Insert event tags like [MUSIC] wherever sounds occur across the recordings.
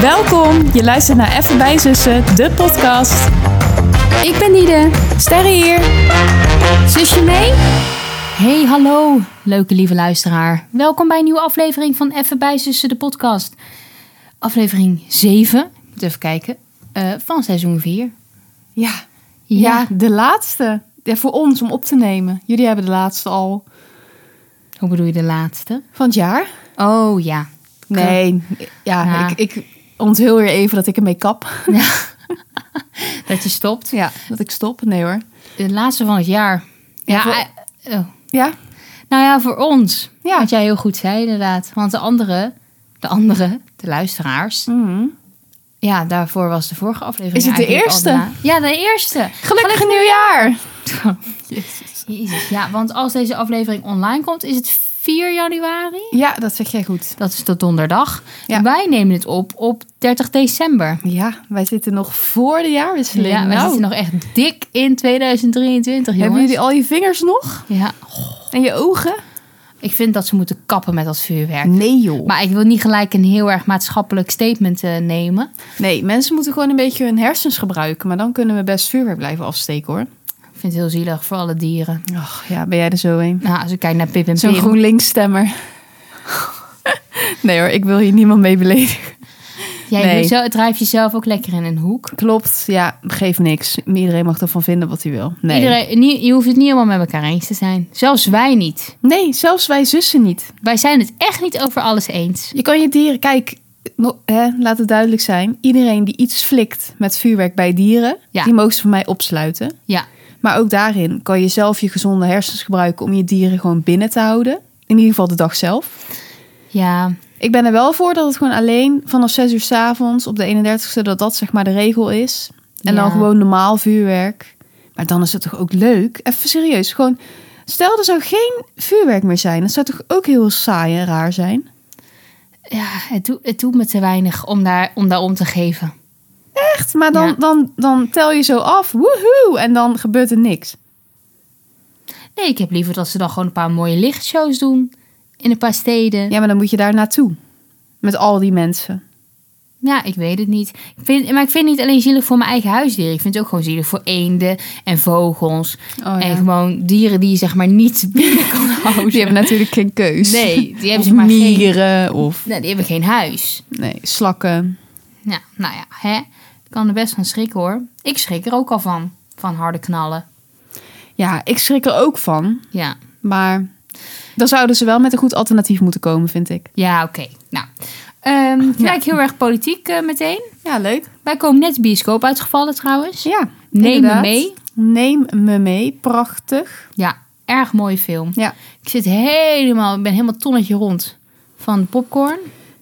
Welkom, je luistert naar Even bij Zussen, de podcast. Ik ben Nide. Sterre hier. Zusje mee? Hey, hallo, leuke lieve luisteraar. Welkom bij een nieuwe aflevering van Even bij Zussen, de podcast. Aflevering 7, moet even kijken, eh, van seizoen 4. Ja, ja. de laatste. Ja, voor ons om op te nemen. Jullie hebben de laatste al Hoe bedoel je de laatste? van het jaar. Oh ja. Nee, ja, Ja. Ik, ik onthul weer even dat ik ermee kap. Dat je stopt. Ja, [LAUGHS] dat ik stop. Nee hoor. De laatste van het jaar. Ja, voor- oh. Ja, Nou ja, voor ons. Ja. Wat jij heel goed zei, inderdaad. Want de andere, de andere, de luisteraars. Mhm. Ja, daarvoor was de vorige aflevering. Is het de eigenlijk al eerste? la- ja, de eerste. gelukkig nieuwjaar! Jezus, ja, want als deze aflevering online komt, is het 4 januari. Ja, dat zeg jij goed. Dat is de donderdag. Ja. Wij nemen het op op 30 december. Ja, wij zitten nog voor de jaarwisseling. Ja, we Nou, zitten nog echt dik in 2023, jongens. hebben jullie al je vingers nog? Ja, En je ogen? ik vind dat ze moeten kappen met dat vuurwerk. Nee joh. Maar ik wil niet gelijk een heel erg maatschappelijk statement eh, nemen. Nee, mensen moeten gewoon een beetje hun hersens gebruiken. Maar dan kunnen we best vuurwerk blijven afsteken hoor. Ik vind het heel zielig voor alle dieren. Ach ja, ben jij er zo een? Nou, als ik kijk naar Pip en Zo'n Pim. GroenLinks-stemmer. [LAUGHS] Nee hoor, ik wil hier niemand mee beledigen. Jij nee. doet zo- drijft jezelf ook lekker in een hoek. Klopt, ja, geef niks. Iedereen mag ervan vinden wat hij wil. Nee. Iedereen, nie- je hoeft het niet helemaal met elkaar eens te zijn. Zelfs wij niet. nee, zelfs wij zussen niet. Wij zijn het echt niet over alles eens. Je kan je dieren, kijk, no- hè, laat het duidelijk zijn. Iedereen die iets flikt met vuurwerk bij dieren, Ja. die mogen ze voor mij opsluiten. Ja, Maar ook daarin kan je zelf je gezonde hersens gebruiken om je dieren gewoon binnen te houden. In ieder geval de dag zelf. ja, Ik ben er wel voor dat het gewoon alleen vanaf 6 uur 's avonds op de 31ste, dat dat zeg maar de regel is. En dan Ja. gewoon normaal vuurwerk. Maar dan is het toch ook leuk? Even serieus, gewoon. Stel, er zou geen vuurwerk meer zijn. Dat zou toch ook heel saai en raar zijn? ja het, doet, het doet me te weinig om daar om, daar om te geven. Echt? Maar dan, Ja. dan, dan tel je zo af, woehoe, en dan gebeurt er niks. Nee, ik heb liever dat ze dan gewoon een paar mooie lichtshows doen. In een paar steden. Ja, Ja, maar dan moet je daar naartoe. Met al die mensen. ik weet het niet. Ik vind, maar ik vind het niet alleen zielig voor mijn eigen huisdieren. Ik vind het ook gewoon zielig voor eenden en vogels. Oh, [LAUGHS] En gewoon dieren die je zeg maar niet [LAUGHS] binnen kan houden. Die hebben natuurlijk geen keus. Oh, Nee, die of hebben, ze maar geen, mieren, of nee, die hebben geen huis. nee, slakken. Ja, nou ja, hè. Ik kan er best van schrikken hoor. Ik schrik er ook al van. Van harde knallen. Ja, ik schrik er ook van. Ja, Maar dan zouden ze wel met een goed alternatief moeten komen, vind ik. ja oké. Nou, Ehm gelijk heel erg politiek eh, meteen. Ja, leuk. Wij komen net bioscoop uitgevallen trouwens. Ja, Neem inderdaad. me mee. Neem me mee. Prachtig. Ja, erg mooie film. Ja. Ik zit helemaal, ik ben helemaal tonnetje rond van popcorn.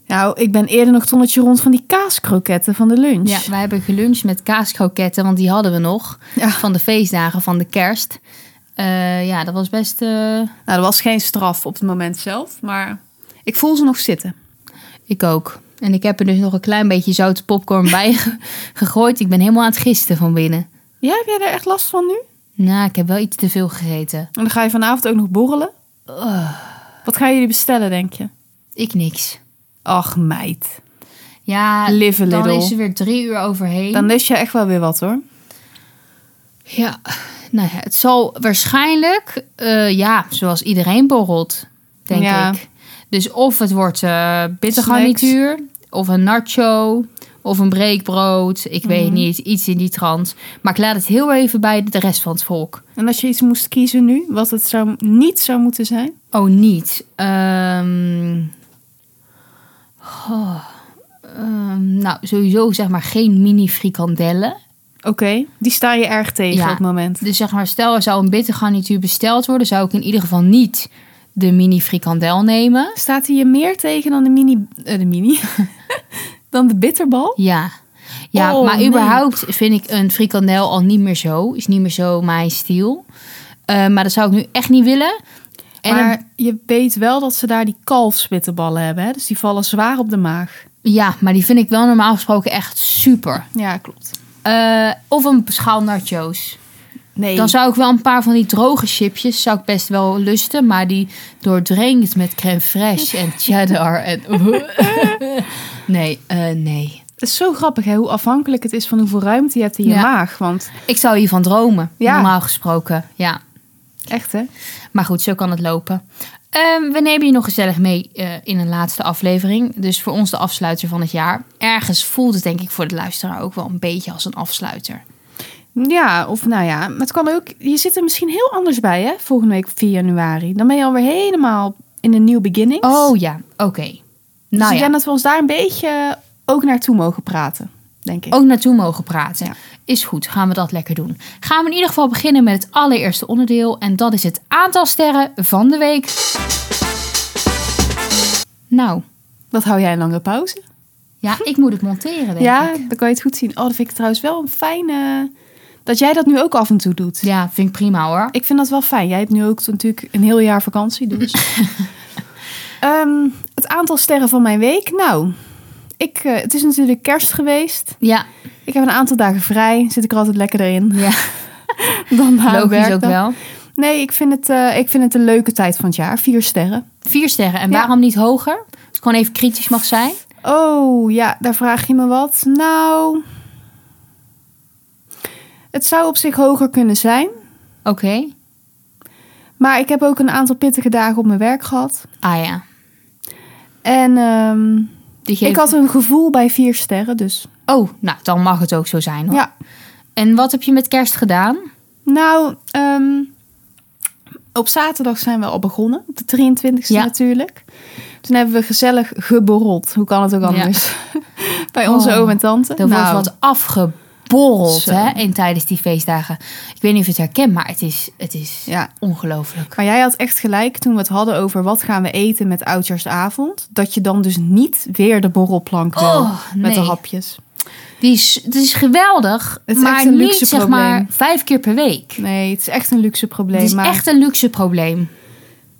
Nou, ik ben eerder nog tonnetje rond van die kaaskroketten van de lunch. Ja, wij hebben geluncht met kaaskroketten, want die hadden we nog. Ja. Van de feestdagen van de kerst. Eh, ja, dat was best... eh, Nou, er was geen straf op het moment zelf, maar ik voel ze nog zitten. ik ook. En ik heb er dus nog een klein beetje zoute popcorn [LAUGHS] bij ge- gegooid. Ik ben helemaal aan het gisten van binnen. Ja, heb jij daar echt last van nu? Nou, ik heb wel iets te veel gegeten. En dan ga je vanavond ook nog borrelen? Wat gaan jullie bestellen, denk je? Ik niks. Ach, meid. Ja, Live a dan little. is er weer drie uur overheen. Dan lust je echt wel weer wat, hoor. Ja, nou ja, het zal waarschijnlijk, eh, ja, zoals iedereen borrelt, denk Ja. ik. Dus of het wordt eh bittergarnituur, of een nacho, of een breekbrood. Ik weet niet, iets in die trant. Maar ik laat het heel even bij de rest van het volk. En als je iets moest kiezen nu, wat het zou, niet zou moeten zijn? Oh, niet. Ehm, oh, ehm, nou, sowieso zeg maar geen mini frikandellen. Oké, die sta je erg tegen Ja. op het moment. Dus zeg maar, stel er zou een bittergarnituur besteld worden, zou ik in ieder geval niet de mini frikandel nemen. Staat hij je meer tegen dan de mini... eh, de mini? [LAUGHS] dan de bitterbal? Ja. Ja, Oh, maar nee. überhaupt vind ik een frikandel al niet meer zo. Is niet meer zo mijn stijl. Eh, maar dat zou ik nu echt niet willen. En maar een- je weet wel dat ze daar die kalfsbitterballen hebben. Hè? Dus die vallen zwaar op de maag. ja, maar die vind ik wel normaal gesproken echt super. Ja, klopt. Eh, of een schaal nachos. Nee. Dan zou ik wel een paar van die droge chipjes zou ik best wel lusten. Maar die doordrenkt met crème fraîche en cheddar. En [LAUGHS] nee, eh, nee. Het is zo grappig hè, hoe afhankelijk het is van hoeveel ruimte je hebt in je Ja. maag. Want Ik zou hiervan dromen, Ja. normaal gesproken. Ja. echt hè? Maar goed, zo kan het lopen. Ehm, we nemen je nog gezellig mee eh, in een laatste aflevering. Dus voor ons de afsluiter van het jaar. Ergens voelt het denk ik voor de luisteraar ook wel een beetje als een afsluiter. Ja, of nou ja, maar het kan ook. Je zit er misschien heel anders bij hè, volgende week op 4 januari. Dan ben je alweer helemaal in een nieuw beginning. Oh ja, oké. dus Nou ik ja, denk dat we ons daar een beetje ook naartoe mogen praten, denk ik. ook naartoe mogen praten. Ja. Is goed, gaan we dat lekker doen. Gaan we in ieder geval beginnen met het allereerste onderdeel. En dat is het aantal sterren van de week. Nou, Wat hou jij een lange pauze? ja, ik moet het monteren denk ja, ik. dan kan je het goed zien. Oh, dat vind ik trouwens wel een fijne. Dat jij dat nu ook af en toe doet. Ja, vind ik prima hoor. Ik vind dat wel fijn. Jij hebt nu ook natuurlijk een heel jaar vakantie, dus. [LAUGHS] Ehm, het aantal sterren van mijn week. Nou, ik, eh, het is natuurlijk kerst geweest. Ja, Ik heb een aantal dagen vrij. Zit ik er altijd lekker in. [LAUGHS] ja Dan na een logisch ook werkdag. wel. Nee, ik vind, het, eh, ik vind het een leuke tijd van het jaar. Vier sterren. Vier sterren. En Ja. waarom niet hoger? Als ik gewoon even kritisch mag zijn. Oh, ja, daar vraag je me wat. Nou, het zou op zich hoger kunnen zijn. Oké. Maar ik heb ook een aantal pittige dagen op mijn werk gehad. Ah ja. En ehm, Die geeft... ik had een gevoel bij vier sterren, dus. Oh, nou, dan mag het ook zo zijn hoor. Ja, En wat heb je met kerst gedaan? nou, ehm, op zaterdag zijn we al begonnen. Op de 23e Ja. natuurlijk. Toen hebben we gezellig geborreld. Hoe kan het ook Ja. anders? [LAUGHS] bij onze Oh, oom en tante. Er Nou, wordt wat afgeborreld Zo. hè, in, tijdens die feestdagen. Ik weet niet of je het herkent, maar het is, het is Ja. ongelooflijk. Maar jij had echt gelijk toen we het hadden over wat gaan we eten met Oudjaarsavond. Dat je dan dus niet weer de borrelplank wil Oh, met de nee. hapjes. Die is, het is geweldig, Het is maar echt een niet luxe zeg probleem. maar vijf keer per week. Nee, het is echt een luxe probleem. het is maar... echt een luxe probleem.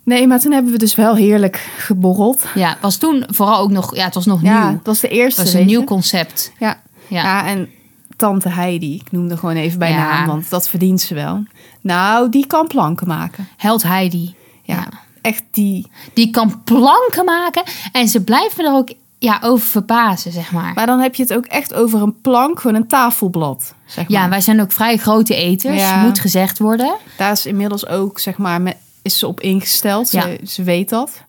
Nee, maar toen hebben we dus wel heerlijk geborreld. Ja, het was toen vooral ook nog, ja, het was nog Ja, nieuw. dat was de Het eerste. was een weet nieuw je. concept. Ja. Ja. Ja. en tante Heidi, ik noemde gewoon even bij Ja. naam, want dat verdient ze wel. Nou, die kan planken maken. Held Heidi. Ja, Ja. echt die. Die kan planken maken. En ze blijft me er ook ja, over verbazen, zeg maar. Maar dan heb je het ook echt over een plank, gewoon een tafelblad. Zeg maar. Ja, wij zijn ook vrij grote eters, Ja. moet gezegd worden. Daar is inmiddels ook, zeg maar, me- is ze op ingesteld. Ze, Ja. ze weet dat.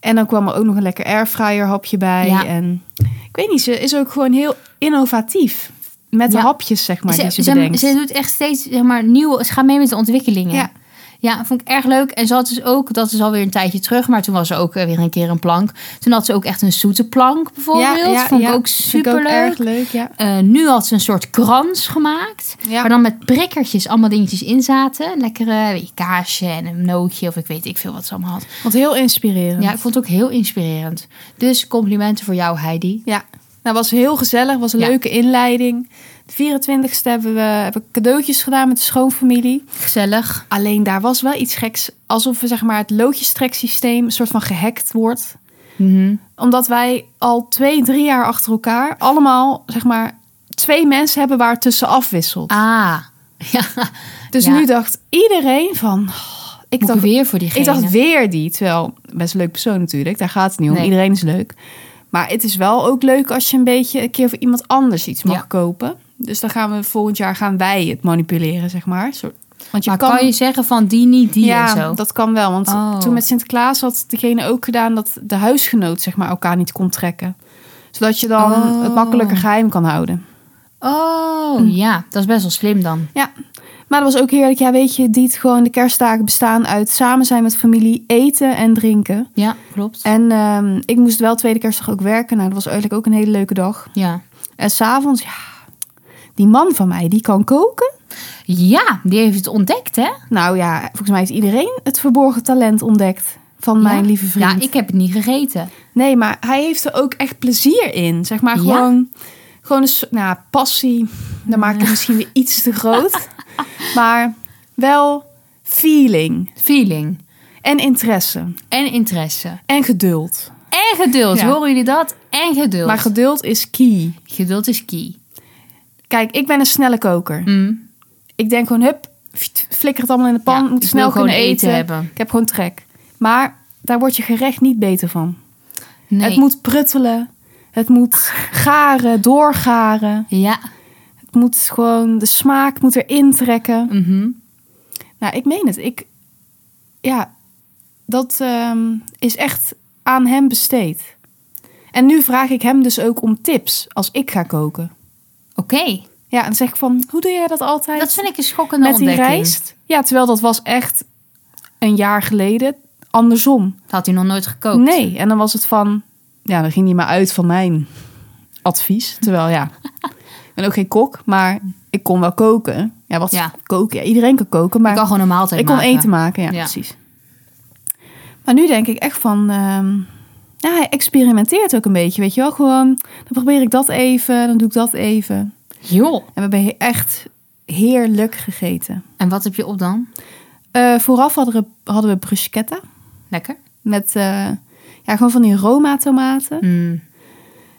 En dan kwam er ook nog een lekker airfryer hapje bij. Ja. En ik weet niet, ze is ook gewoon heel innovatief. Met de Ja. hapjes, zeg maar, die ze, bedenkt. ze doet echt steeds zeg maar, nieuw. Ze gaat mee met de ontwikkelingen. Ja. Ja, vond ik erg leuk. En ze had dus ook, dat is alweer een tijdje terug, maar toen was er ook eh, weer een keer een plank. Toen had ze ook echt een zoete plank bijvoorbeeld. vond ik ook Vind ik superleuk. erg leuk, ja. Eh, nu had ze een soort krans gemaakt. Ja. Waar dan met prikkertjes allemaal dingetjes in zaten. Lekkere weet je, kaasje en een nootje of ik weet ik veel wat ze allemaal had. Want heel inspirerend. Ja, ik vond het ook heel inspirerend. Dus complimenten voor jou, Heidi. Ja. Nou, was heel gezellig. Was een Ja. leuke inleiding. De 24ste hebben we hebben we cadeautjes gedaan met de schoonfamilie. Gezellig. Alleen daar was wel iets geks. Alsof we, zeg maar, het loodjestreksysteem een soort van gehackt wordt. Mhm. Omdat wij al twee, drie jaar achter elkaar allemaal, zeg maar, twee mensen hebben waar het tussen afwisselt. Ah, [LAUGHS] ja. dus ja. nu dacht iedereen van... oh, ik Moet dacht, ik weer voor diegene. Ik dacht weer die, terwijl best een leuk persoon natuurlijk. Daar gaat het niet om. Nee. Iedereen is leuk. Maar het is wel ook leuk als je een beetje een keer voor iemand anders iets mag Ja. kopen. Dus dan gaan we volgend jaar gaan wij het manipuleren, zeg maar. Zo- Want je maar kan, kan... je zeggen van die niet, die ja, en zo? dat kan wel. Want Oh. toen met Sinterklaas had degene ook gedaan dat de huisgenoot zeg maar elkaar niet kon trekken, zodat je dan Oh. het makkelijker geheim kan houden. Oh, Mm. ja. Dat is best wel slim dan. Ja, maar dat was ook heerlijk. Ja, weet je, die gewoon de kerstdagen bestaan uit samen zijn met familie, eten en drinken. Ja, klopt. En ehm, ik moest wel tweede kerstdag ook werken. Nou, dat was eigenlijk ook een hele leuke dag. Ja. En s'avonds, ja, die man van mij, die kan koken. ja, die heeft het ontdekt, hè? Nou ja, volgens mij heeft iedereen het verborgen talent ontdekt van mijn Ja. lieve vriend. Ja, ik heb het niet gegeten. Nee, maar hij heeft er ook echt plezier in. Zeg maar Ja? gewoon, gewoon een soort- nou, passie. Dan maak ik het misschien weer iets te [LAUGHS] groot. maar wel feeling Feeling. en interesse En interesse. en geduld. En geduld. Ja. Horen jullie dat? En geduld. Maar geduld is key. geduld is key. Kijk, ik ben een snelle koker. Mm. Ik denk gewoon, hup, fiet, flikker het allemaal in de pan. Ja, moet ik snel wil kunnen gewoon eten eten. hebben. Ik heb gewoon trek. Maar daar wordt je gerecht niet beter van. Nee. Het moet pruttelen. Het moet [LAUGHS] garen, doorgaren. Ja. Het moet gewoon, de smaak moet erin trekken. Mhm. Nou, ik meen het. Ik, ja, dat ehm, is echt aan hem besteed. En nu vraag ik hem dus ook om tips als ik ga koken. Oké. Ja, en dan zeg ik van, hoe doe jij dat altijd? Dat vind ik een schokkende Met die ontdekking. rijst? Ja, terwijl dat was echt een jaar geleden andersom. Dat had hij nog nooit gekookt. Nee, en dan was het van... Ja, dan ging hij maar uit van mijn advies. Terwijl, ja, ik ben ook geen kok, maar ik kon wel koken. Ja, wat Ja. koken? Ja, iedereen kan koken, maar ik kan gewoon een maaltijd ik kon maken. eten maken. Ja, Ja. precies. Maar nu denk ik echt van... ehm, ja, hij experimenteert ook een beetje, weet je wel. Gewoon, dan probeer ik dat even, dan doe ik dat even. Joh. En we hebben he- echt heerlijk gegeten. En wat heb je op dan? Eh, vooraf hadden we, hadden we bruschetta Lekker. met... eh, ja, gewoon van die Roma-tomaten. Mm.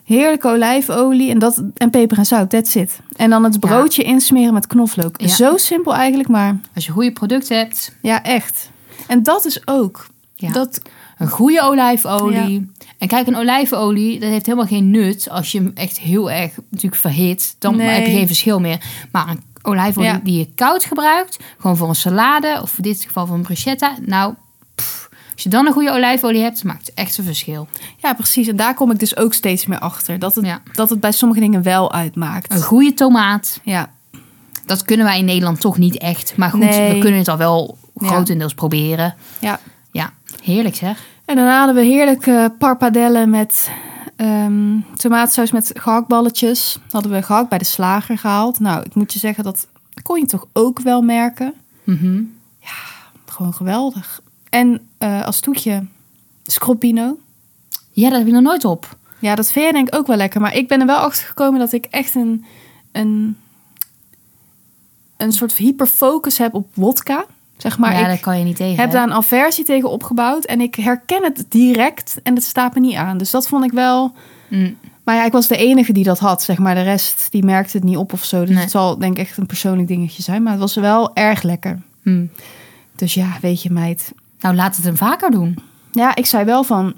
Heerlijke olijfolie en, dat, en peper en zout, that's it. En dan het broodje insmeren met knoflook. Ja. Zo simpel eigenlijk, maar Als je goede producten hebt, ja, echt. En dat is ook. Ja. Dat, een goede olijfolie. En kijk, een olijfolie, dat heeft helemaal geen nut als je hem echt heel erg natuurlijk verhit. Dan Nee. heb je geen verschil meer. Maar een olijfolie Ja. die je koud gebruikt, gewoon voor een salade of in dit geval voor een bruschetta. Nou, pff, als je dan een goede olijfolie hebt, maakt het echt een verschil. ja, precies. En daar kom ik dus ook steeds meer achter. Dat het, Ja. dat het bij sommige dingen wel uitmaakt. Een goede tomaat, Ja, dat kunnen wij in Nederland toch niet echt. Maar goed, Nee. we kunnen het al wel Ja. grotendeels proberen. ja. Ja, heerlijk zeg. En daarna hadden we heerlijke parpadellen met ehm tomaatsaus met gehaktballetjes. Dat hadden we gehakt bij de slager gehaald. Nou, ik moet je zeggen, dat kon je toch ook wel merken. Mhm. Gewoon geweldig. En eh, als toetje, scroppino. Ja, dat heb ik nog nooit op. Ja, dat vind jij denk ik ook wel lekker. Maar ik ben er wel achter gekomen dat ik echt een, een, een soort hyperfocus heb op wodka. Zeg maar, Maar ja, ik dat kan je niet tegen. heb hè? daar een aversie tegen opgebouwd. En ik herken het direct en het staat me niet aan. Dus dat vond ik wel... Mm. Maar ja, ik was de enige die dat had, zeg maar. De rest, die merkte het niet op of zo. Dus Nee. het zal denk ik echt een persoonlijk dingetje zijn. Maar het was wel erg lekker. Mm. Dus ja, weet je meid, Nou, laat het hem vaker doen. Ja, ik zei wel van.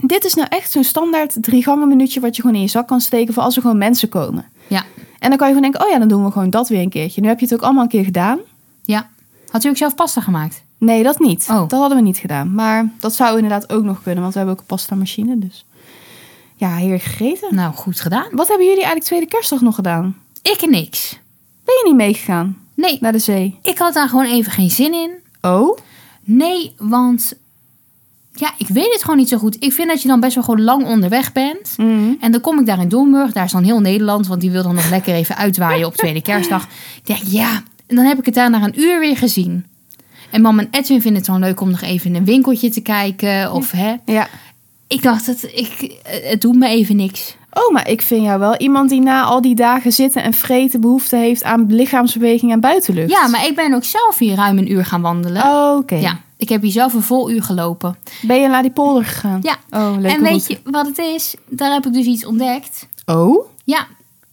Dit is nou echt zo'n standaard drie gangen minuutje wat je gewoon in je zak kan steken voor als er gewoon mensen komen. Ja. En dan kan je gewoon denken, oh ja, dan doen we gewoon dat weer een keertje. Nu heb je het ook allemaal een keer gedaan. Ja. Had u ook zelf pasta gemaakt? Nee, dat niet. Oh. Dat hadden we niet gedaan. Maar dat zou inderdaad ook nog kunnen, want we hebben ook een pasta machine. Dus ja, heerlijk gegeten. Nou, goed gedaan. Wat hebben jullie eigenlijk tweede kerstdag nog gedaan? Ik en niks. Ben je niet meegegaan Nee, naar de zee? ik had daar gewoon even geen zin in. Oh? Nee, want ja, ik weet het gewoon niet zo goed. Ik vind dat je dan best wel gewoon lang onderweg bent. En dan kom ik daar in Domburg. Daar is dan heel Nederland, want die wil dan nog lekker even uitwaaien op tweede kerstdag. Ik denk, ja. En dan heb ik het daar na een uur weer gezien. En mam en Edwin vinden het dan leuk om nog even in een winkeltje te kijken. Of hè. Ja. Ik dacht, het, ik, het doet me even niks. Oh, maar ik vind jou wel iemand die na al die dagen zitten en vreten behoefte heeft aan lichaamsbeweging en buitenlucht. Oh, Ja, maar ik ben ook zelf hier ruim een uur gaan wandelen. Oké. Ja, ik heb hier zelf een vol uur gelopen. Ben je naar die polder gegaan? Ja. Oh, leuk. en weet je wat het is? Daar heb ik dus iets ontdekt. Oh, Ja,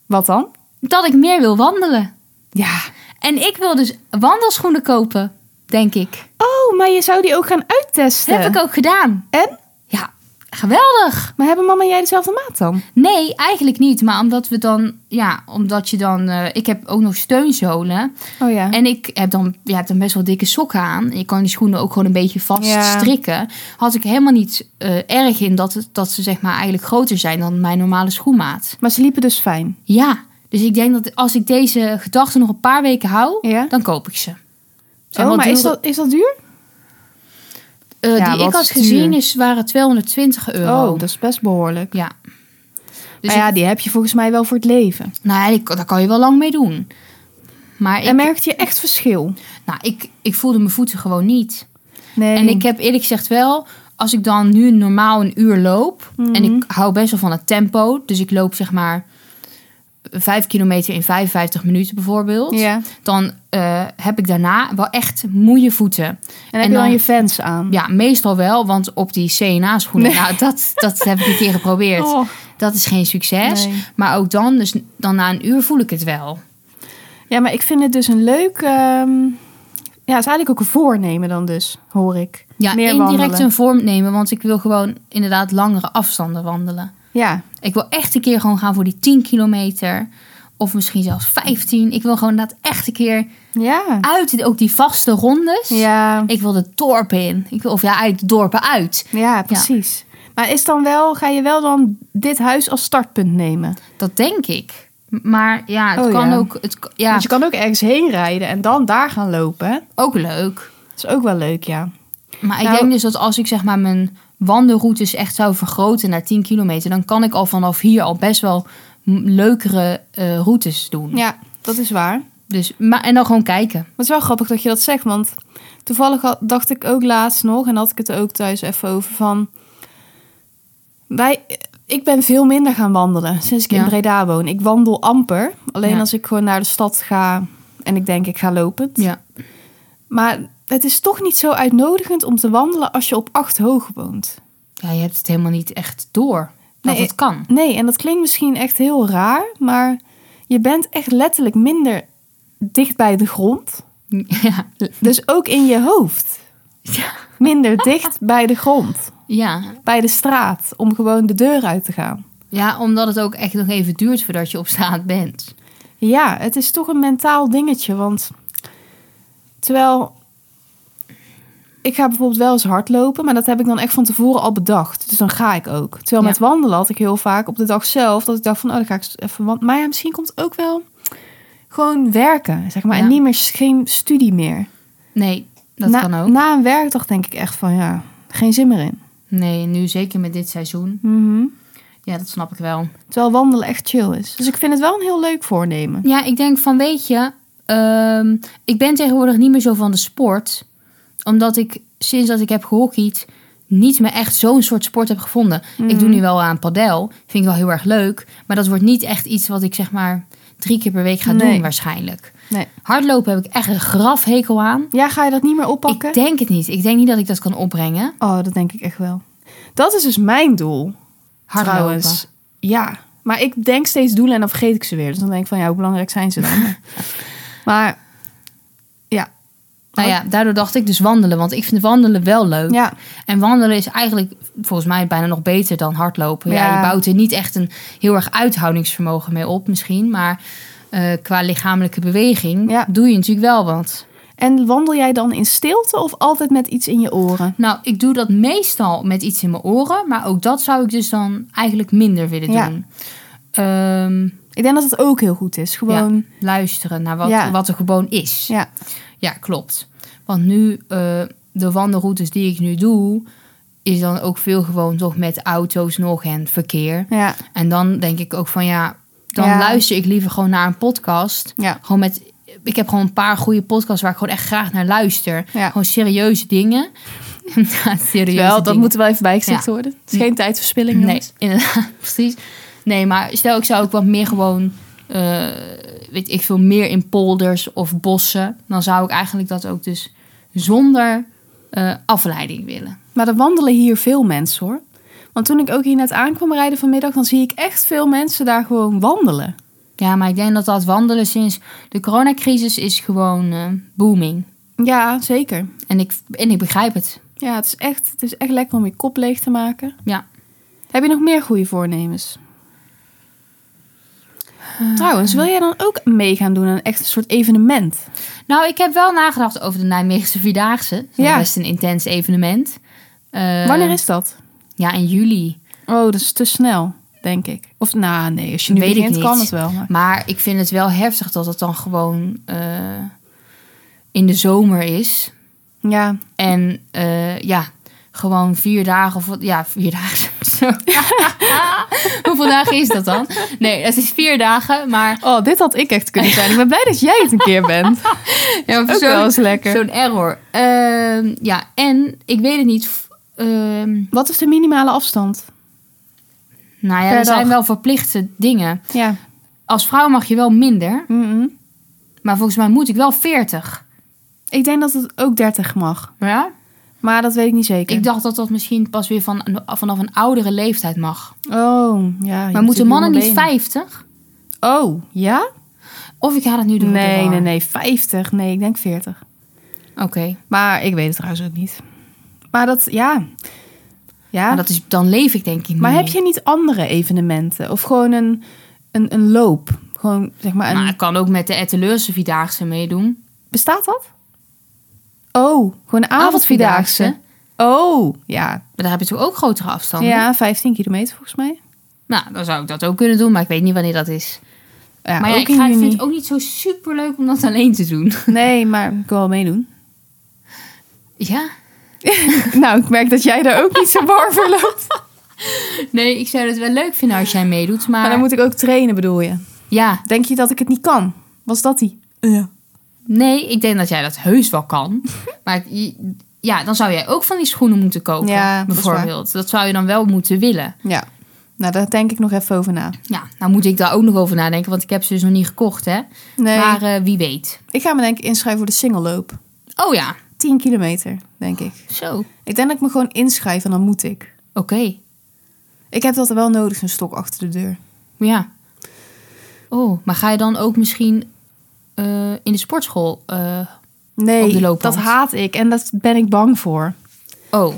wat dan? dat ik meer wil wandelen. Ja. En ik wil dus wandelschoenen kopen, denk ik. Oh, maar je zou die ook gaan Dat uittesten. heb ik ook gedaan. En? Ja, geweldig. Maar hebben mama en jij dezelfde maat dan? Nee, eigenlijk niet. Maar omdat we dan, ja, omdat je dan, eh, ik heb ook nog steunzolen. Oh ja. En ik heb dan, ja, heb dan best wel dikke sokken aan. Je kan die schoenen ook gewoon een beetje vast Ja. strikken. Had ik helemaal niet eh, erg in dat, het, dat ze zeg maar eigenlijk groter zijn dan mijn normale schoenmaat. Maar ze liepen dus fijn. Ja, dus ik denk dat als ik deze gedachten nog een paar weken hou, Ja. dan koop ik ze. Zijn Oh, wel maar is duur- dat, is dat duur? eh, Ja, die ik wat had duur. gezien is, waren 220 euro. Oh, dat is best behoorlijk. Ja. Dus maar ja, ik- die heb je volgens mij wel voor het leven. nou ja, die- daar kan je wel lang mee doen. Maar ik, En merkte je echt verschil? nou, ik, ik voelde mijn voeten gewoon niet. Nee. En ik heb eerlijk gezegd wel, als ik dan nu normaal een uur loop. En ik Mhm. hou best wel van het tempo. Dus ik loop zeg maar vijf kilometer in 55 minuten bijvoorbeeld. Ja. En, Dan eh, heb ik daarna wel echt moeie voeten. heb je dan dan- je fans aan? Ja, meestal wel, want op die CNA-schoenen, nou, dat, dat heb ik een keer geprobeerd. [LAUGHS] Oh. Dat is geen succes. Nee. Maar ook dan, dus dan na een uur voel ik het wel. Ja, maar ik vind het dus een leuk... ehm, Ja, het is eigenlijk ook een voornemen dan dus, hoor ik. Ja, Meer indirect wandelen. een vorm nemen, want ik wil gewoon inderdaad langere afstanden wandelen. Ja, Ik wil echt een keer gewoon gaan voor die 10 kilometer. Of misschien zelfs 15. Ik wil gewoon dat echt een keer ja, uit ook die vaste rondes. ja, Ik wil de dorpen in. Ik wil, of ja, uit de dorpen uit. ja, precies. Maar is dan wel, ga je wel dan dit huis als startpunt nemen? Dat denk ik. Maar ja, het Oh, kan ja. ook. Het, k- ja, Want je kan ook ergens heen rijden en dan daar gaan lopen. hè? ook leuk. Dat is ook wel leuk, ja. Maar ik Nou- denk dus dat als ik zeg maar mijn wandelroutes echt zou vergroten naar 10 kilometer, dan kan ik al vanaf hier al best wel m- leukere eh, routes doen. Ja, dat is waar. Dus, maar, en dan gewoon kijken. Maar het is wel grappig dat je dat zegt, want toevallig had- dacht ik ook laatst nog, en had ik het ook thuis even over, van wij, ik ben veel minder gaan wandelen sinds ik Ja. in Breda woon. Ik wandel amper, alleen Ja. als ik gewoon naar de stad ga en ik denk ik ga lopend. Ja. Maar het is toch niet zo uitnodigend om te wandelen als je op acht hoog woont. ja, je hebt het helemaal niet echt door dat Nee, het kan. [LAUGHS] Nee, en dat klinkt misschien echt heel raar, maar je bent echt letterlijk minder dicht bij de grond. Ja, Dus ook in je hoofd. Ja. Minder dicht bij de grond, ja. bij de straat, om gewoon de deur uit te gaan. ja, omdat het ook echt nog even duurt voordat je op straat bent. Ja, het is toch een mentaal dingetje, want terwijl ik ga bijvoorbeeld wel eens hardlopen, maar dat heb ik dan echt van tevoren al bedacht. Dus dan ga ik ook. Terwijl Ja. met wandelen had ik heel vaak op de dag zelf dat ik dacht van, oh, dan ga ik eens even wandelen. Maar ja, misschien komt ook wel gewoon werken, zeg maar, Ja. en niet meer geen studie meer. Nee, dat na, kan ook. Na een werkdag denk ik echt van, ja, geen zin meer in. Nee, nu zeker met dit seizoen. Mhm. Ja, dat snap ik wel. Terwijl wandelen echt chill is. Dus ik vind het wel een heel leuk voornemen. Ja, ik denk van weet je, ehm, ik ben tegenwoordig niet meer zo van de sport. Omdat ik sinds dat ik heb gehockeyd niet meer echt zo'n soort sport heb gevonden. Ik Mhm. doe nu wel aan padel, vind ik wel heel erg leuk. Maar dat wordt niet echt iets wat ik zeg maar drie keer per week ga Nee. doen waarschijnlijk. Nee. Hardlopen heb ik echt een grafhekel aan. Ja, ga je dat niet meer oppakken? Ik denk het niet. Ik denk niet dat ik dat kan opbrengen. Oh, dat denk ik echt wel. Dat is dus mijn doel. Hardlopen. Trouwens. Ja. Maar ik denk steeds doelen en dan vergeet ik ze weer. Dus dan denk ik van, ja, hoe belangrijk zijn ze [LAUGHS] dan? maar ja. Nou ja, daardoor dacht ik dus wandelen. Want ik vind wandelen wel leuk. Ja. En wandelen is eigenlijk volgens mij bijna nog beter dan hardlopen. Ja. Ja. je bouwt er niet echt een heel erg uithoudingsvermogen mee op misschien. Maar eh, qua lichamelijke beweging Ja. doe je natuurlijk wel wat. En wandel jij dan in stilte of altijd met iets in je oren? Nou, ik doe dat meestal met iets in mijn oren. Maar ook dat zou ik dus dan eigenlijk minder willen Ja. doen. Ehm, Ik denk dat het ook heel goed is. Gewoon, luisteren naar wat, Ja. wat er gewoon is. ja. Ja. Ja, klopt. Want nu, eh, de wandelroutes die ik nu doe, is dan ook veel gewoon toch met auto's nog en verkeer. Ja. En dan denk ik ook van ja, dan Ja. luister ik liever gewoon naar een podcast. Ja. Gewoon met, ik heb gewoon een paar goede podcasts waar ik gewoon echt graag naar luister. Ja. Gewoon serieuze dingen. [LAUGHS] ja, serieuze Wel, dat dingen. moet er wel even bijgezegd Ja. worden. Het is geen tijdverspilling, Nee, jongens. inderdaad, [LAUGHS] precies. Nee, maar stel ik zou ook wat meer gewoon, eh, weet ik veel, meer in polders of bossen. Dan zou ik eigenlijk dat ook dus zonder eh, afleiding willen. Maar er wandelen hier veel mensen, hoor. Want toen ik ook hier net aankwam rijden vanmiddag... dan zie ik echt veel mensen daar gewoon wandelen. Ja, maar ik denk dat dat wandelen sinds de coronacrisis is gewoon eh, booming. Ja, zeker. En ik, en ik begrijp het. Ja, het is, echt, het is echt lekker om je kop leeg te maken. Ja. Heb je nog meer goede voornemens? Eh. Trouwens, wil jij dan ook mee gaan doen aan echt een soort evenement? Nou, ik heb wel nagedacht over de Nijmeegse Vierdaagse. Dat is Ja. best een intens evenement. Eh, Wanneer is dat? Ja, in juli. Oh, dat is te snel, denk ik. Of nou, nee, als je nu Weet ik begint niet. kan het wel. Maar... Maar ik vind het wel heftig dat het dan gewoon eh, in de zomer is. Ja, En eh, ja, gewoon vier dagen of wat- ja, vier dagen. [LAUGHS] Zo. [LAUGHS] Hoeveel dagen is dat dan? Nee, het is vier dagen, maar oh, dit had ik echt kunnen zijn. Ik ben blij dat jij het een keer bent. [LAUGHS] ja, Ook wel eens lekker. zo'n error. Ehm, ja, en ik weet het niet. f- ehm, Wat is de minimale afstand? nou ja, Per er zijn dag. wel verplichte dingen. Ja. Als vrouw mag je wel minder, Mhm. maar volgens mij moet ik wel 40. Ik denk dat het ook 30 mag. Ja? Maar dat weet ik niet zeker. Ik dacht dat dat misschien pas weer van, vanaf een oudere leeftijd mag. Oh, ja. je Maar hebt moeten natuurlijk mannen niet jonge benen. 50? Oh, ja? Of ik haal het nu door de Nee, war. nee, nee. 50. Nee, ik denk 40. Oké. Maar ik weet het trouwens ook niet. Maar dat, ja. Ja. Maar dat is, dan leef ik denk ik niet Maar meer. heb je niet andere evenementen? Of gewoon een, een, een loop? Gewoon, zeg maar, een... Maar ik kan ook met de Etteleurse Vierdaagse meedoen. Bestaat dat? Oh, gewoon een avondvierdaagse. Oh, ja. Maar daar heb je toch ook grotere afstanden? Ja, 15 kilometer volgens mij. Nou, dan zou ik dat ook kunnen doen, maar ik weet niet wanneer dat is. Ja, maar ja, ook ik in ga, ik juni. vind het ook niet zo super leuk om dat alleen te [LAUGHS] doen. Nee, maar ik wil wel meedoen. [LAUGHS] Ja? nou, ik merk dat jij daar ook niet zo warm voor [LAUGHS] loopt. Nee, ik zou het wel leuk vinden als jij meedoet, maar... Maar dan moet ik ook trainen, bedoel je? Ja, Denk je dat ik het niet kan? Was dat die? Ja. nee, ik denk dat jij dat heus wel [LAUGHS] kan. maar je- ja, dan zou jij ook van die schoenen moeten kopen, Ja, dat is waar. bijvoorbeeld. Dat, zou je dan wel moeten willen. Ja. Nou, daar denk ik nog even over na. Ja, nou moet ik daar ook nog over nadenken, want ik heb ze dus nog niet gekocht, hè. Nee. Maar eh, wie weet. Ik ga me denk ik inschrijven voor de singleloop. Oh ja, 10 kilometer, denk ik. zo. Oké. Ik denk dat ik me gewoon inschrijf en dan moet ik. Ik heb dat wel nodig, een stok achter de deur. Ja. Oh, maar ga je dan ook misschien eh, in de sportschool? eh, Op de Nee, loopband. dat haat ik en dat ben ik bang voor. oh.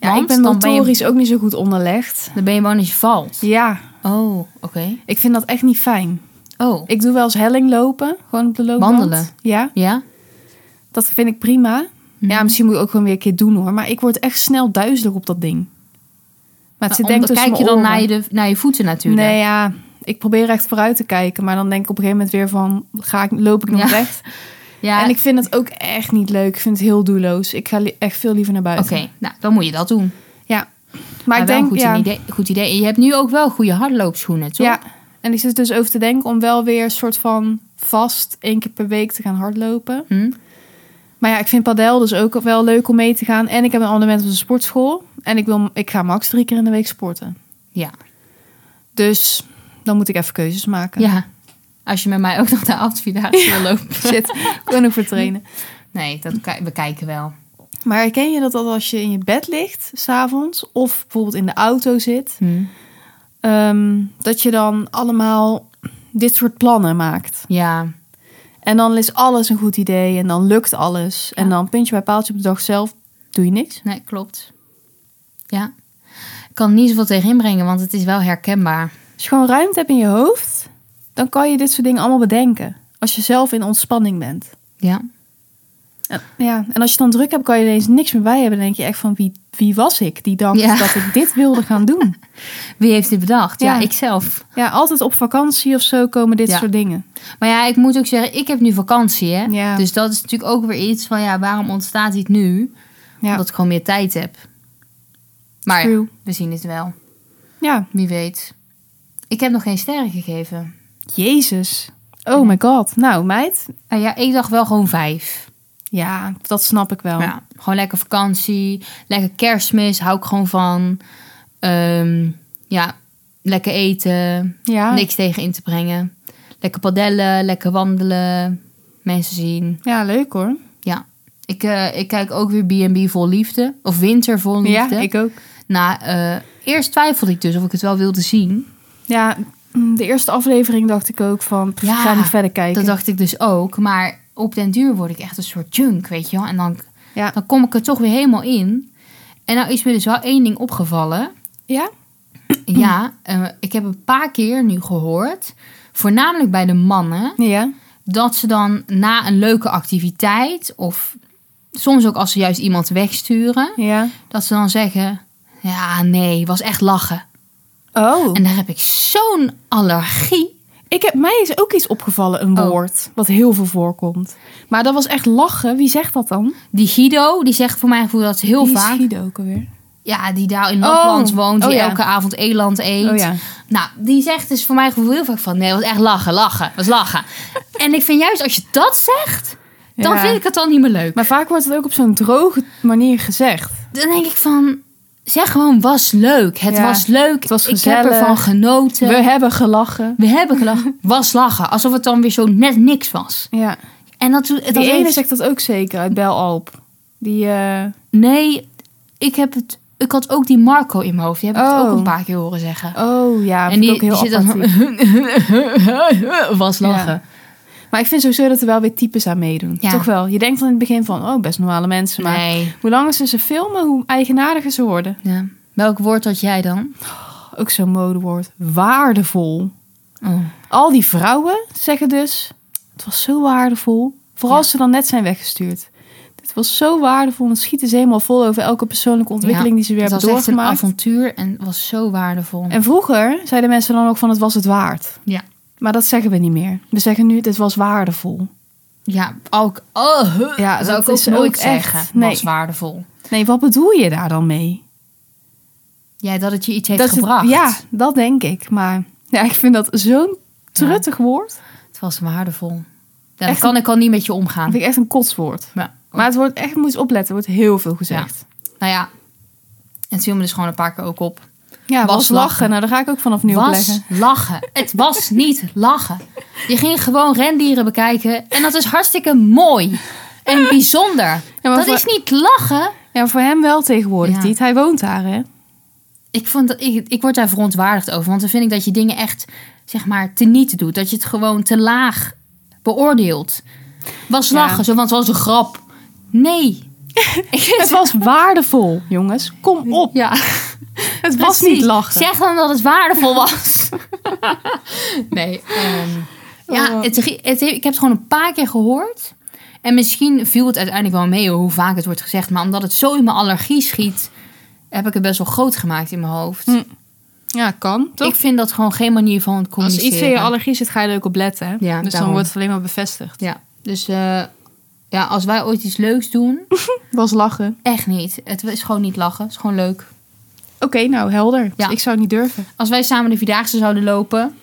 Ja, Want ik ben dan motorisch je, ook niet zo goed onderlegd. dan ben je bang dat je valt. Ja, Oh, oké. ik vind dat echt niet fijn. Oh, Ik doe wel eens helling lopen, gewoon op de loopband. Wandelen. Ja, ja? dat vind ik prima. Mhm. Ja, misschien moet ik ook gewoon weer een keer doen hoor. Maar ik word echt snel duizelig op dat ding. Maar het zit Maar denk om- ik tussen kijk je mijn dan oren. naar je, de, naar je voeten natuurlijk. Nee, ja. Ik probeer echt vooruit te kijken. Maar dan denk ik op een gegeven moment weer van... Ga ik, loop ik nog Ja. recht? [LAUGHS] ja, En ik vind het ook echt niet leuk. Ik vind het heel doelloos. Ik ga li- echt veel liever naar Oké, buiten. nou, dan moet je dat doen. Maar, Ja. Maar, ik wel denk... een goed, ja, een idee, goed idee. En je hebt nu ook wel goede hardloopschoenen, toch? ja. En ik zit dus over te denken om wel weer een soort van vast één keer per week te gaan hardlopen. Hm? Maar ja, ik vind padel dus ook wel leuk om mee te gaan. En ik heb een abonnement op de sportschool. En ik, wil, ik ga max drie keer in de week sporten. Ja. Dus dan moet ik even keuzes maken. ja. Als je met mij ook [LAUGHS] nog de avondvierdaagse wil lopen. [LAUGHS] Shit, ik wil nog voor trainen. Nee, dat, ki- we kijken wel. Maar herken je dat dat als je in je bed ligt, s'avonds, of bijvoorbeeld in de auto zit, Hm. ehm, dat je dan allemaal dit soort plannen maakt? Ja, En dan is alles een goed idee en dan lukt alles. En dan puntje bij paaltje op de dag zelf doe je niks. nee, klopt. Ja. Ik kan er niet zoveel tegen inbrengen, want het is wel herkenbaar. Als je gewoon ruimte hebt in je hoofd, dan kan je dit soort dingen allemaal bedenken. Als je zelf in ontspanning bent. Ja. En- Ja, en als je het dan druk hebt, kan je ineens niks meer bij hebben. Dan denk je echt van, wie, wie was ik die dacht Ja. dat ik dit wilde gaan [LAUGHS] doen? Wie heeft dit bedacht? Ja, Ja. ikzelf. Ja, altijd op vakantie of zo komen dit Ja. soort dingen. Maar ja, ik moet ook zeggen, ik heb nu vakantie, hè? Ja. Dus dat is natuurlijk ook weer iets van, ja, waarom ontstaat dit nu? Ja. Omdat ik gewoon meer tijd heb. Maar ja, True. we zien het wel. Ja, Wie weet. Ik heb nog geen sterren gegeven. Jezus. Oh my god. Nou, meid. Nou ja, ik dacht wel gewoon vijf. Ja, dat snap ik wel. Ja, gewoon lekker vakantie. Lekker kerstmis, hou ik gewoon van. Ehm, ja, lekker eten. Ja. Niks tegen in te brengen. Lekker padellen, lekker wandelen. Mensen zien. Ja, leuk hoor. Ja. Ik, eh, ik kijk ook weer B&B vol liefde. Of Winter vol liefde. Ja, ik ook. Nou, eh, eerst twijfelde ik dus of ik het wel wilde zien. Ja, mm, de eerste aflevering dacht ik ook van, pff, Ja, ga niet verder kijken. Dat dacht ik dus ook. Maar op den duur word ik echt een soort junk, weet je wel. En dan, Ja. dan kom ik er toch weer helemaal in. En nou is me dus wel één ding [CLEARS THROAT] opgevallen. ja? Ja, eh, ik heb een paar keer nu gehoord... voornamelijk bij de mannen... Ja. dat ze dan na een leuke activiteit... of soms ook als ze juist iemand wegsturen... Ja. dat ze dan zeggen: Ja, nee, was echt lachen. Oh, En daar heb ik zo'n allergie. ik heb, mij is ook iets opgevallen, een Oh. woord, wat heel veel voorkomt. Maar dat was echt lachen. Wie zegt dat dan? Die Guido, die zegt voor mijn gevoel dat ze heel Die is vaak. Guido ook alweer. Ja, die daar in Lapland Oh. woont, die Oh, ja. elke avond eland eet. Oh ja. Nou, die zegt dus voor mijn gevoel heel vaak van: Nee, was echt lachen, lachen, was [LAUGHS] lachen. en ik vind juist als je dat zegt, dan Ja. vind ik het al niet meer leuk. Maar vaak wordt het ook op zo'n droge manier gezegd. Dan denk ik van. Zeg gewoon, was leuk. Het Ja. was leuk. Het was Ik heb gezellig. ervan genoten. We We, hebben gelachen. hebben [LAUGHS] gelachen. Was lachen. Alsof het dan weer zo net niks was. Ja. En dat, dat Die ene heeft- zegt dat ook zeker uit Belalp. Die, eh, Nee, ik heb het. Ik had ook die Marco in mijn hoofd. Die heb ik het Oh. ook een paar keer horen zeggen. oh ja, en vind ik die, ook heel die zit [LAUGHS] apathiek. dan. [LAUGHS] was lachen. Maar ik vind sowieso dat er wel weer types aan meedoen. Ja. Toch wel. Je denkt dan in het begin van, oh, best normale mensen. Maar Nee. hoe langer ze ze filmen, hoe eigenaardiger ze worden. Ja. Welk woord had jij dan? Ook zo'n modewoord. Waardevol. Oh. Al die vrouwen zeggen dus, het was zo waardevol. Vooral als ze dan net zijn weggestuurd. Dit was zo waardevol. En het schieten ze helemaal vol over elke persoonlijke ontwikkeling die ze weer Het hebben was echt een doorgemaakt. avontuur en was zo waardevol. En vroeger zeiden mensen dan ook van het was het waard. Ja. Maar dat zeggen we niet meer. We zeggen nu dit was waardevol. Ja, ook. Oh, huh, Ja, zou dat ik ook is nooit ook echt- zeggen. nee. Was waardevol. Nee, wat bedoel je daar dan mee? Ja, dat het je iets heeft dat het- gebracht. ja, dat denk ik. Maar ja, ik vind dat zo'n truttig woord. Het was waardevol. Ja, dat Echt kan ik al niet met je Dat omgaan. vind ik echt een kotswoord. Ja. Maar het wordt echt, moet je eens opletten, er wordt heel veel gezegd. Nou ja, het viel me dus gewoon een paar keer ook op. Ja, was, Was lachen. lachen. Nou, daar ga ik ook vanaf nu op was leggen. lachen. Het [LAUGHS] was niet lachen. Je ging gewoon rendieren bekijken. En dat is hartstikke [LAUGHS] mooi. En bijzonder. maar dat voor- is niet lachen. Ja, voor hem wel tegenwoordig, Ja. Tiet. Hij woont daar, [LAUGHS] hè? Ik, vond dat, ik, ik word daar verontwaardigd over. Want dan vind ik dat je dingen echt, zeg maar, teniet doet. Dat je het gewoon te laag beoordeelt. Was Ja. lachen, zo, want het was een grap. Nee. Het was waardevol, jongens. Kom op. Ja, Het was niet lachen. Zeg dan dat het waardevol was. [LAUGHS] nee. ehm, Oh. ja, het, het, ik heb het gewoon een paar keer gehoord. En misschien viel het uiteindelijk wel mee hoe vaak het wordt gezegd. Maar omdat het zo in mijn allergie schiet, heb ik het best wel groot gemaakt in mijn hoofd. Hm, Ja, kan, toch? Ik vind dat gewoon geen manier van het Als communiceren. iets in je allergie zit, ga je er ook op letten. hè? Ja, dus dan daarom. wordt het alleen maar bevestigd. Ja, dus eh, ja, als wij ooit iets leuks doen, Was lachen. echt niet. Het is gewoon niet lachen, het is gewoon leuk. Oké, nou, helder. Ja. Ik zou het niet durven. Als wij samen de Vierdaagse zouden lopen,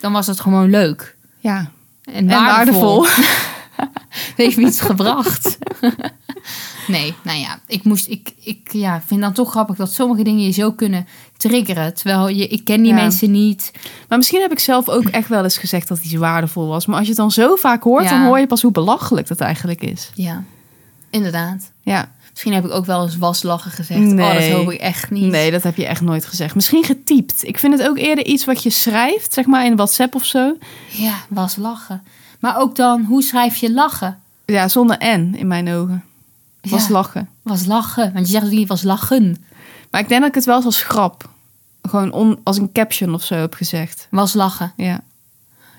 dan was het gewoon leuk. Ja, En en waardevol. [LAUGHS] waardevol. Het heeft me iets gebracht. [LAUGHS] nee, nou ja, ik moest. Ik, ik ja, vind dan toch grappig dat sommige dingen je zo kunnen triggeren. Terwijl je, ik ken Ja. die mensen niet. Maar misschien heb ik zelf ook echt wel eens gezegd dat iets waardevol was. Maar als je het dan zo vaak hoort, Ja. dan hoor je pas hoe belachelijk dat eigenlijk is. Ja, inderdaad. Ja. Misschien heb ik ook wel eens waslachen gezegd. Oh, dat Nee. hoop ik echt niet. Nee, dat heb je echt nooit gezegd. Misschien getypt. Ik vind het ook eerder iets wat je schrijft, zeg maar in WhatsApp of zo. Ja, waslachen. Maar ook dan, hoe schrijf je lachen? Ja, zonder N in mijn ogen. Was Ja. lachen. Was lachen. Want je zegt natuurlijk niet was lachen. Maar ik denk dat ik het wel eens als grap, gewoon on- als een caption of zo heb gezegd. Was lachen. Ja.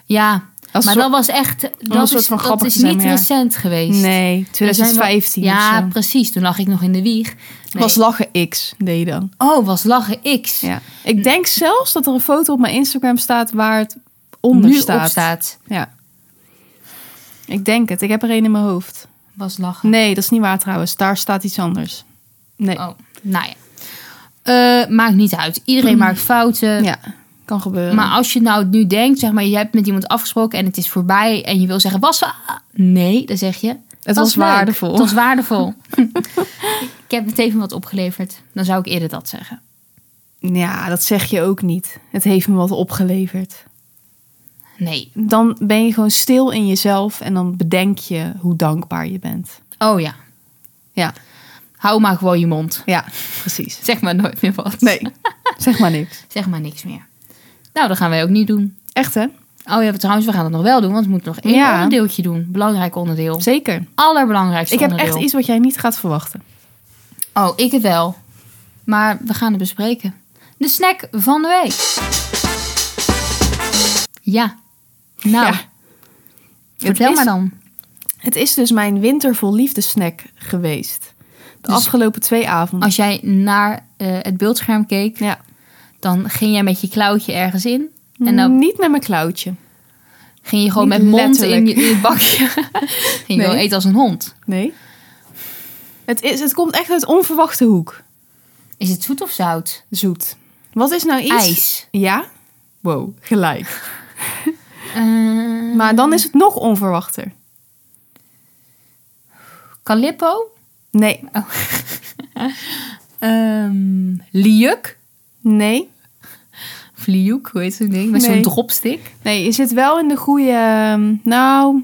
Ja. Als maar zo- dat was echt. een Dat soort is, van dat grappig is zijn, niet maar ja. recent geweest. Nee, 2015 Er zijn wel- of Ja, zo. precies. Toen lag ik nog in de wieg. Nee. Was lachen X, deed je dan. oh, was lachen X. Ja. Ik denk zelfs dat er een foto op mijn Instagram staat waar het onder nu staat. op staat. Ja. Ik denk het. Ik heb er één in mijn hoofd. Was lachen. Nee, dat is niet waar trouwens. Daar staat iets anders. Nee. Oh, nou ja. Eh, maakt niet uit. Iedereen maakt fouten. Mm. Ja, kan gebeuren. Maar als je nou nu denkt, zeg maar, je hebt met iemand afgesproken en het is voorbij en je wil zeggen, was wa- Nee, dan zeg je. het was leuk. waardevol. Het was waardevol. [LAUGHS] ik heb het even wat opgeleverd. Dan zou ik eerder dat zeggen. Ja, dat zeg je ook niet. Het heeft me wat opgeleverd. Nee. Dan ben je gewoon stil in jezelf en dan bedenk je hoe dankbaar je bent. Oh ja. Ja, Hou maar gewoon je mond. ja, precies. Zeg maar nooit meer wat. Nee, [LAUGHS] zeg maar niks. Zeg maar niks meer. Nou, dat gaan wij ook niet doen. Echt hè? Oh ja, trouwens, we gaan dat nog wel doen, want we moeten nog één Ja. onderdeeltje doen. Belangrijk onderdeel. Zeker. Allerbelangrijkste Ik heb onderdeel. echt iets wat jij niet gaat verwachten. Oh, ik het wel. Maar we gaan het bespreken. De snack van de week. Ja. Nou, Ja. vertel is- maar dan. Het is dus mijn winter vol liefde snack geweest. De Dus- afgelopen twee avonden. Als jij naar eh, het beeldscherm keek, Ja. dan ging jij met je klauwtje ergens in. En nou- dan Niet met mijn klauwtje. ging je gewoon Niet met mond in je, letterlijk. in je bakje. [LAUGHS] ging je gewoon Nee. eten als een hond. Nee. Het, is, het komt echt uit onverwachte hoek. Is het zoet of zout? Zoet. Wat is nou iets? IJs. Ja? Wow, [LAUGHS] gelijk. Eh, Maar dan is het nog onverwachter. Calippo? Nee. Oh. [LAUGHS] Ehm liuk? Nee. Of liuk, hoe heet zo'n ding? Met Nee. zo'n dropstick. Nee, je zit wel in de goede... ehm, Nou...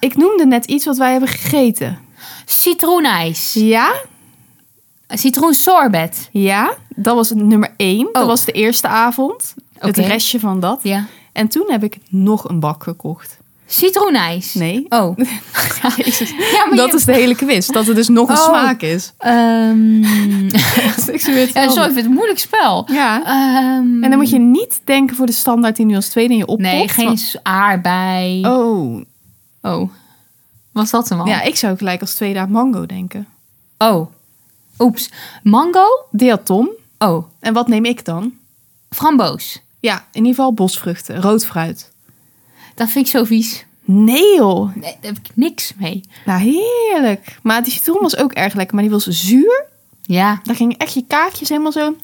Ik noemde net iets wat wij hebben gegeten. Citroenijs. Ja? Citroensorbet. Ja? Dat was nummer één. Dat Oh. was de eerste avond. Het Oké. restje van dat. Ja. En toen heb ik nog een bak gekocht. Citroenijs. Nee. Oh. [LAUGHS] Jezus. Ja, maar Dat je- is de hele quiz. Dat er dus nog een Oh. smaak is. Ehm, eh, Ik zie weer ja, hetzelfde. zo even het moeilijk spel. Ja. Ehm, En dan moet je niet denken voor de standaard die nu als tweede in je opkomt. Nee, geen Want- s- aardbei. Oh. Oh, Was dat hem al? ja, ik zou gelijk als tweede aan mango denken. Oh. Oeps. Mango? Deatom. Oh. En wat neem ik dan? Framboos. Ja, in ieder geval bosvruchten, rood fruit. Dat vind ik zo vies. Nee joh. Nee, daar heb ik niks mee. Nou, heerlijk. Maar die citroen was ook erg lekker, maar die was zuur. Ja. Daar gingen echt je kaartjes helemaal zo.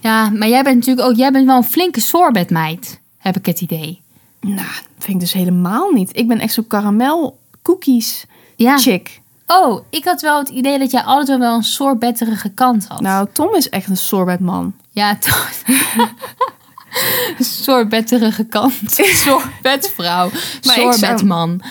Ja, maar jij bent natuurlijk ook... Jij bent wel een flinke sorbetmeid. Heb ik het idee. Nou, dat vind ik dus helemaal niet. Ik ben echt zo'n karamel cookies Ja. chick. Oh, ik had wel het idee dat jij altijd wel wel een sorbetterige kant had. Nou, Tom is echt een sorbetman. Ja, [LAUGHS] toch. sorbetterige kant. [LAUGHS] Sorbetvrouw. Maar ik zou- Sorbetman.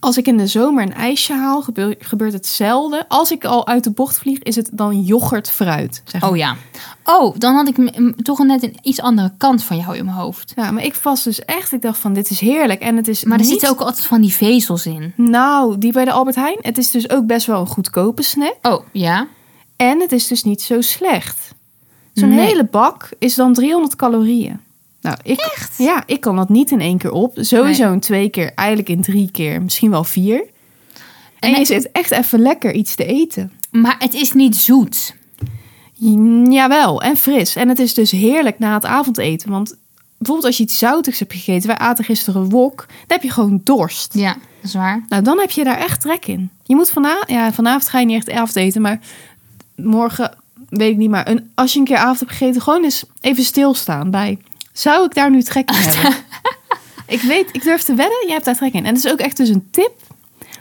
Als ik in de zomer een ijsje haal, gebeur- gebeurt het zelden. Als ik al uit de bocht vlieg, is het dan yoghurtfruit. Zeg maar. Oh ja. Oh, dan had ik m- m- toch net een iets andere kant van jou in mijn hoofd. Ja, maar ik was dus echt, ik dacht van dit is heerlijk. En het is Maar er niet... zitten ook altijd van die vezels in. Nou, die bij de Albert Heijn. Het is dus ook best wel een goedkope snack. Oh, ja? En het is dus niet zo slecht. Zo'n Nee. hele bak is dan 300 calorieën. Nou, ik, Echt? Ja, ik kan dat niet in één keer op. Sowieso Nee. in twee keer, eigenlijk in drie keer, misschien wel vier. En Nee. je zit echt even lekker iets te eten. Maar het is niet zoet. Jawel, en fris. En het is dus heerlijk na het avondeten. Want bijvoorbeeld als je iets zoutigs hebt gegeten... wij aten gisteren wok, dan heb je gewoon dorst. Ja, dat is waar. Nou, dan heb je daar echt trek in. Je moet vanavond, ja, vanavond ga je niet echt avondeten, maar morgen weet ik niet. Maar een, als je een keer avond hebt gegeten, gewoon eens even stilstaan bij. Zou ik daar nu trek in hebben? ik weet, ik durf te wedden, jij hebt daar trek in. En het is ook echt dus een tip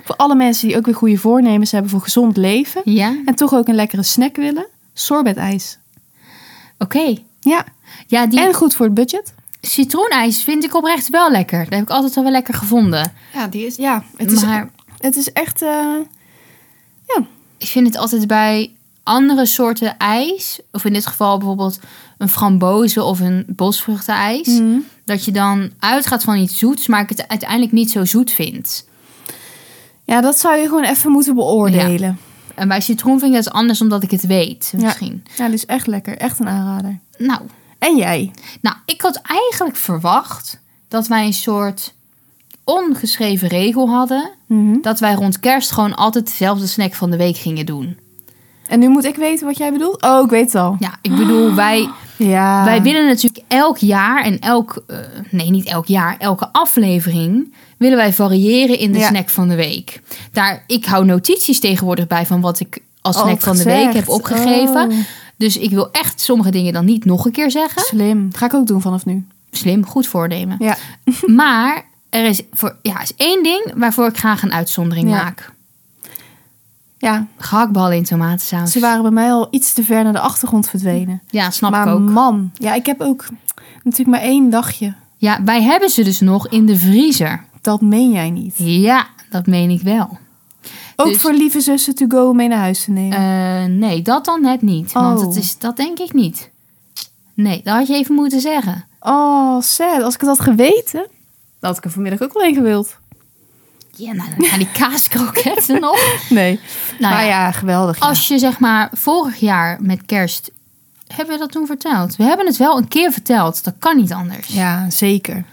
voor alle mensen die ook weer goede voornemens hebben voor gezond leven. Ja? En toch ook een lekkere snack willen. Sorbetijs. Oké. Ja, Ja, die en goed voor het budget. citroenijs vind ik oprecht wel lekker. Dat heb ik altijd wel wel lekker gevonden. Ja, die is, ja het, is, maar het is echt... eh, ik vind het altijd bij andere soorten ijs... of in dit geval bijvoorbeeld een frambozen of een bosvruchtenijs... dat je dan uitgaat van iets zoets... maar ik het uiteindelijk niet zo zoet vind. ja, dat zou je gewoon even moeten beoordelen. En bij citroen vind ik dat anders omdat ik het weet, Ja. misschien. Ja, die is echt lekker. Echt een aanrader. Nou, En jij? nou, ik had eigenlijk verwacht dat wij een soort ongeschreven regel hadden... dat wij rond kerst gewoon altijd dezelfde snack van de week gingen doen. En nu moet ik weten wat jij bedoelt? Oh, ik weet het al. Ja, ik Ah. bedoel, wij, Ja. wij willen natuurlijk elk jaar en elk... eh, nee, niet elk jaar, elke aflevering willen wij variëren in de Ja. snack van de week. Daar, ik hou notities tegenwoordig bij van wat ik als snack Altijd van de week Oh, gezegd. heb opgegeven. Oh. Dus ik wil echt sommige dingen dan niet nog een keer zeggen. Slim. Ga ik ook doen vanaf nu. Slim, goed voornemen. Ja. [LAUGHS] Maar er is, voor, ja, is één ding waarvoor ik graag een uitzondering Ja. maak. Ja. Gehaktballen in tomatensaus. Ze waren bij mij al iets te ver naar de achtergrond verdwenen. Ja, snap maar ik ook. man. Ja, ik heb ook natuurlijk maar één dagje. Ja, wij hebben ze dus nog in de vriezer. Dat meen jij niet. Ja, dat meen ik wel. Ook Dus- voor lieve zussen to go om mee naar huis te nemen. Eh, nee, dat dan net niet. Want Oh. het is, dat denk ik niet. Nee, dat had je even moeten zeggen. Oh, sad. Als ik het had geweten, dan had ik er vanmiddag ook wel een gewild. Ja, nou, dan gaan die kaaskroketten nog. [LAUGHS] Nee. Nou maar ja, ja, geweldig. ja. als je zeg maar vorig jaar met kerst... Hebben we dat toen verteld? We hebben het wel een keer verteld. Dat kan niet anders. Ja, zeker.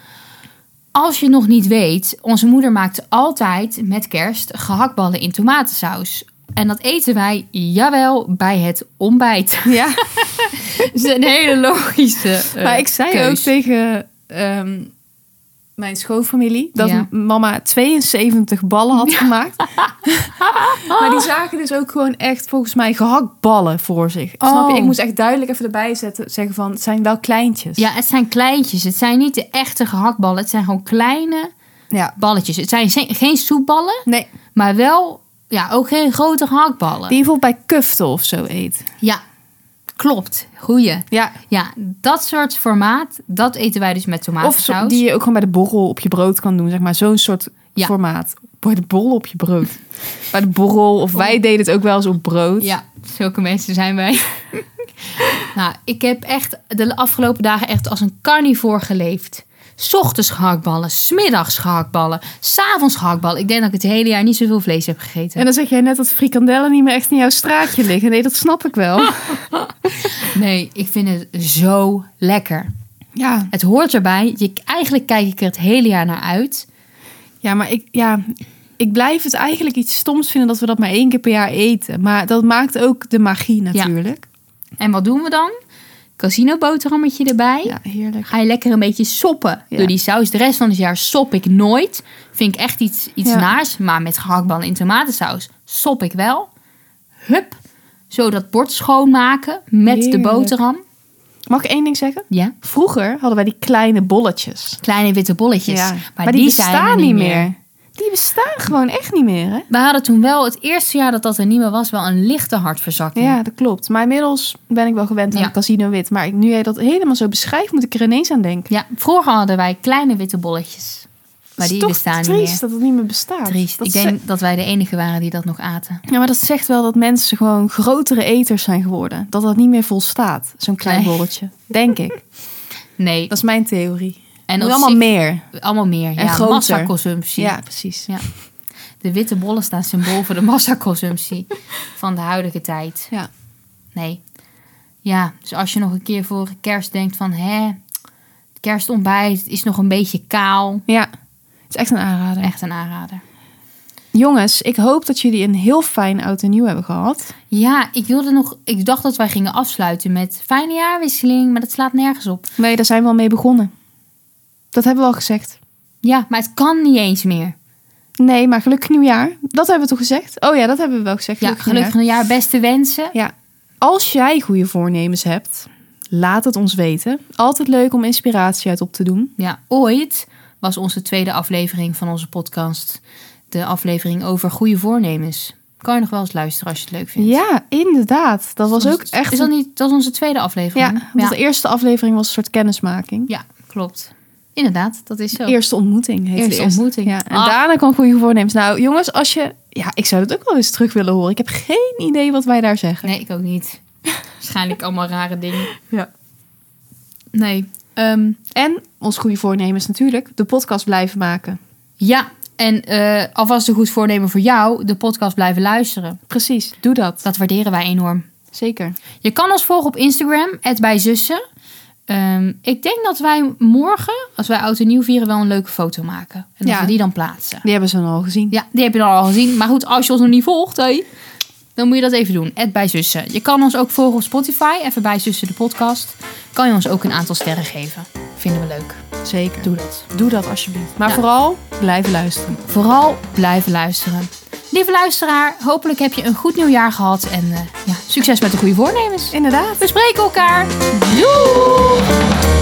Als je nog niet weet, onze moeder maakt altijd met kerst gehaktballen in tomatensaus. En dat eten wij, jawel, bij het ontbijt. [LAUGHS] [LAUGHS] Ja. Dat is een hele logische. [LAUGHS] eh, maar ik zei keus. ook tegen ehm, mijn schoonfamilie dat Ja. m- mama 72 ballen had [LAUGHS] gemaakt. maar die zagen dus ook gewoon echt volgens mij gehaktballen voor zich. Snap je? Oh. Ik moest echt duidelijk even erbij zetten, zeggen van het zijn wel kleintjes. Ja, het zijn kleintjes. Het zijn niet de echte gehaktballen. Het zijn gewoon kleine Ja. balletjes. Het zijn ze- geen soepballen, Nee, maar wel ja, ook geen grote gehaktballen. die bijvoorbeeld bij kuftel of zo eet. Ja, klopt. Goeie. Ja. Ja, dat soort formaat, dat eten wij dus met Of tomatensaus. zo, die je ook gewoon bij de borrel op je brood kan doen, zeg maar. Zo'n soort Ja. formaat. Bij de borrel op je brood. [LAUGHS] Oh. bij de borrel, of wij deden het ook wel eens op brood. Ja, zulke mensen zijn wij. [LAUGHS] nou, ik heb echt de afgelopen dagen echt als een carnivoor geleefd. S ochtends gehaktballen, smiddags gehaktballen, s'avonds gehaktballen. Ik denk dat ik het hele jaar niet zoveel vlees heb gegeten. En dan zeg jij net dat frikandellen niet meer echt in jouw straatje liggen. Nee, dat snap ik wel. Nee, ik vind het zo lekker. Ja, Het hoort erbij. Je, eigenlijk kijk ik er het hele jaar naar uit. ja maar ik, ja, ik blijf het eigenlijk iets stoms vinden dat we dat maar één keer per jaar eten. Maar dat maakt ook de magie natuurlijk. En wat doen we dan? Casino boterhammetje erbij. Ja, heerlijk. Ga je lekker een beetje soppen Ja. door die saus. De rest van het jaar sop ik nooit. Vind ik echt iets, iets Ja. naars. Maar met gehaktballen in tomatensaus sop ik wel. Hup. Zo dat bord schoonmaken met de Heerlijk. boterham. Mag ik één ding zeggen? Ja. Vroeger hadden wij die kleine bolletjes. Kleine witte bolletjes. Ja, Maar, die, zijn er niet meer. Die bestaan gewoon echt niet meer, hè? We hadden toen wel het eerste jaar dat dat er niet meer was, wel een lichte hartverzakking. Ja, dat klopt. Maar inmiddels ben ik wel gewend aan Ja. Casino Wit. Maar ik, nu jij dat helemaal zo beschrijft, moet ik er ineens aan denken. Ja, vroeger hadden wij kleine witte bolletjes. Maar Het is die toch bestaan triest niet meer. dat het niet meer bestaat. Triest. Dat eh, ik ze- denk dat wij de enige waren die dat nog aten. Ja, maar dat zegt wel dat mensen gewoon grotere eters zijn geworden. Dat dat niet meer volstaat, zo'n klein Nee. bolletje. Denk [LAUGHS] ik. Nee. Dat is mijn theorie. en Moet op allemaal zich- meer. allemaal meer. En ja, groter. massaconsumptie. Ja, precies. Ja. De witte bollen staan symbool voor de [LAUGHS] massaconsumptie van de huidige tijd. Ja. Nee. Ja, dus als je nog een keer voor kerst denkt van... hè, het kerstontbijt is nog een beetje kaal. Ja, het is echt een aanrader. Echt een aanrader. Jongens, ik hoop dat jullie een heel fijn oud en nieuw hebben gehad. Ja, ik wilde nog. Ik dacht dat wij gingen afsluiten met fijne jaarwisseling, maar dat slaat nergens op. Nee, daar zijn we al mee begonnen. Dat hebben we al gezegd. Ja, maar het kan niet eens meer. Nee, maar gelukkig nieuwjaar. Dat hebben we toch gezegd? Oh ja, dat hebben we wel gezegd. Ja, gelukkig nieuwjaar, beste wensen. nieuwjaar. Ja. Als jij goede voornemens hebt, laat het ons weten. Altijd leuk om inspiratie uit op te doen. Ja, ooit was onze tweede aflevering van onze podcast de aflevering over goede voornemens. Kan je nog wel eens luisteren als je het leuk vindt? Ja, inderdaad. Dat was Ons- ook echt... Is dat niet? Dat is onze tweede Ja, e- aflevering. want de eerste aflevering was een soort kennismaking. Ja, klopt. Inderdaad, dat is zo. Eerste ontmoeting heet Eerste de ontmoeting. Ja, en Ah. daarna kwam goede voornemens. Nou, jongens, als je... Ja, ik zou dat ook wel eens terug willen horen. Ik heb geen idee wat wij daar zeggen. Nee, ik ook niet. [LAUGHS] Waarschijnlijk allemaal rare dingen. Ja. Nee. Ehm En ons goede voornemens natuurlijk. De podcast blijven maken. Ja, en eh, alvast een goed voornemen voor jou, de podcast blijven luisteren. Precies, doe dat. Dat waarderen wij enorm. Zeker. Je kan ons volgen op Instagram, bijzussen. Ehm, ik denk dat wij morgen, als wij oud en nieuw vieren, wel een leuke foto maken. En dat Ja. we die dan plaatsen. Die hebben ze dan al gezien. Ja, die heb je dan al gezien. Maar goed, als je ons nog niet volgt, hé, dan moet je dat even doen. bijzussen. Je kan ons ook volgen op Spotify, even bijzussen de podcast. Kan je ons ook een aantal sterren geven. Vinden we leuk. Zeker. Doe, Doe dat. doe dat alsjeblieft. Maar Ja. vooral blijven luisteren. Vooral blijven luisteren. Lieve luisteraar, hopelijk heb je een goed nieuwjaar gehad. En eh, ja, succes met de goede voornemens. Inderdaad. We spreken elkaar. Doei!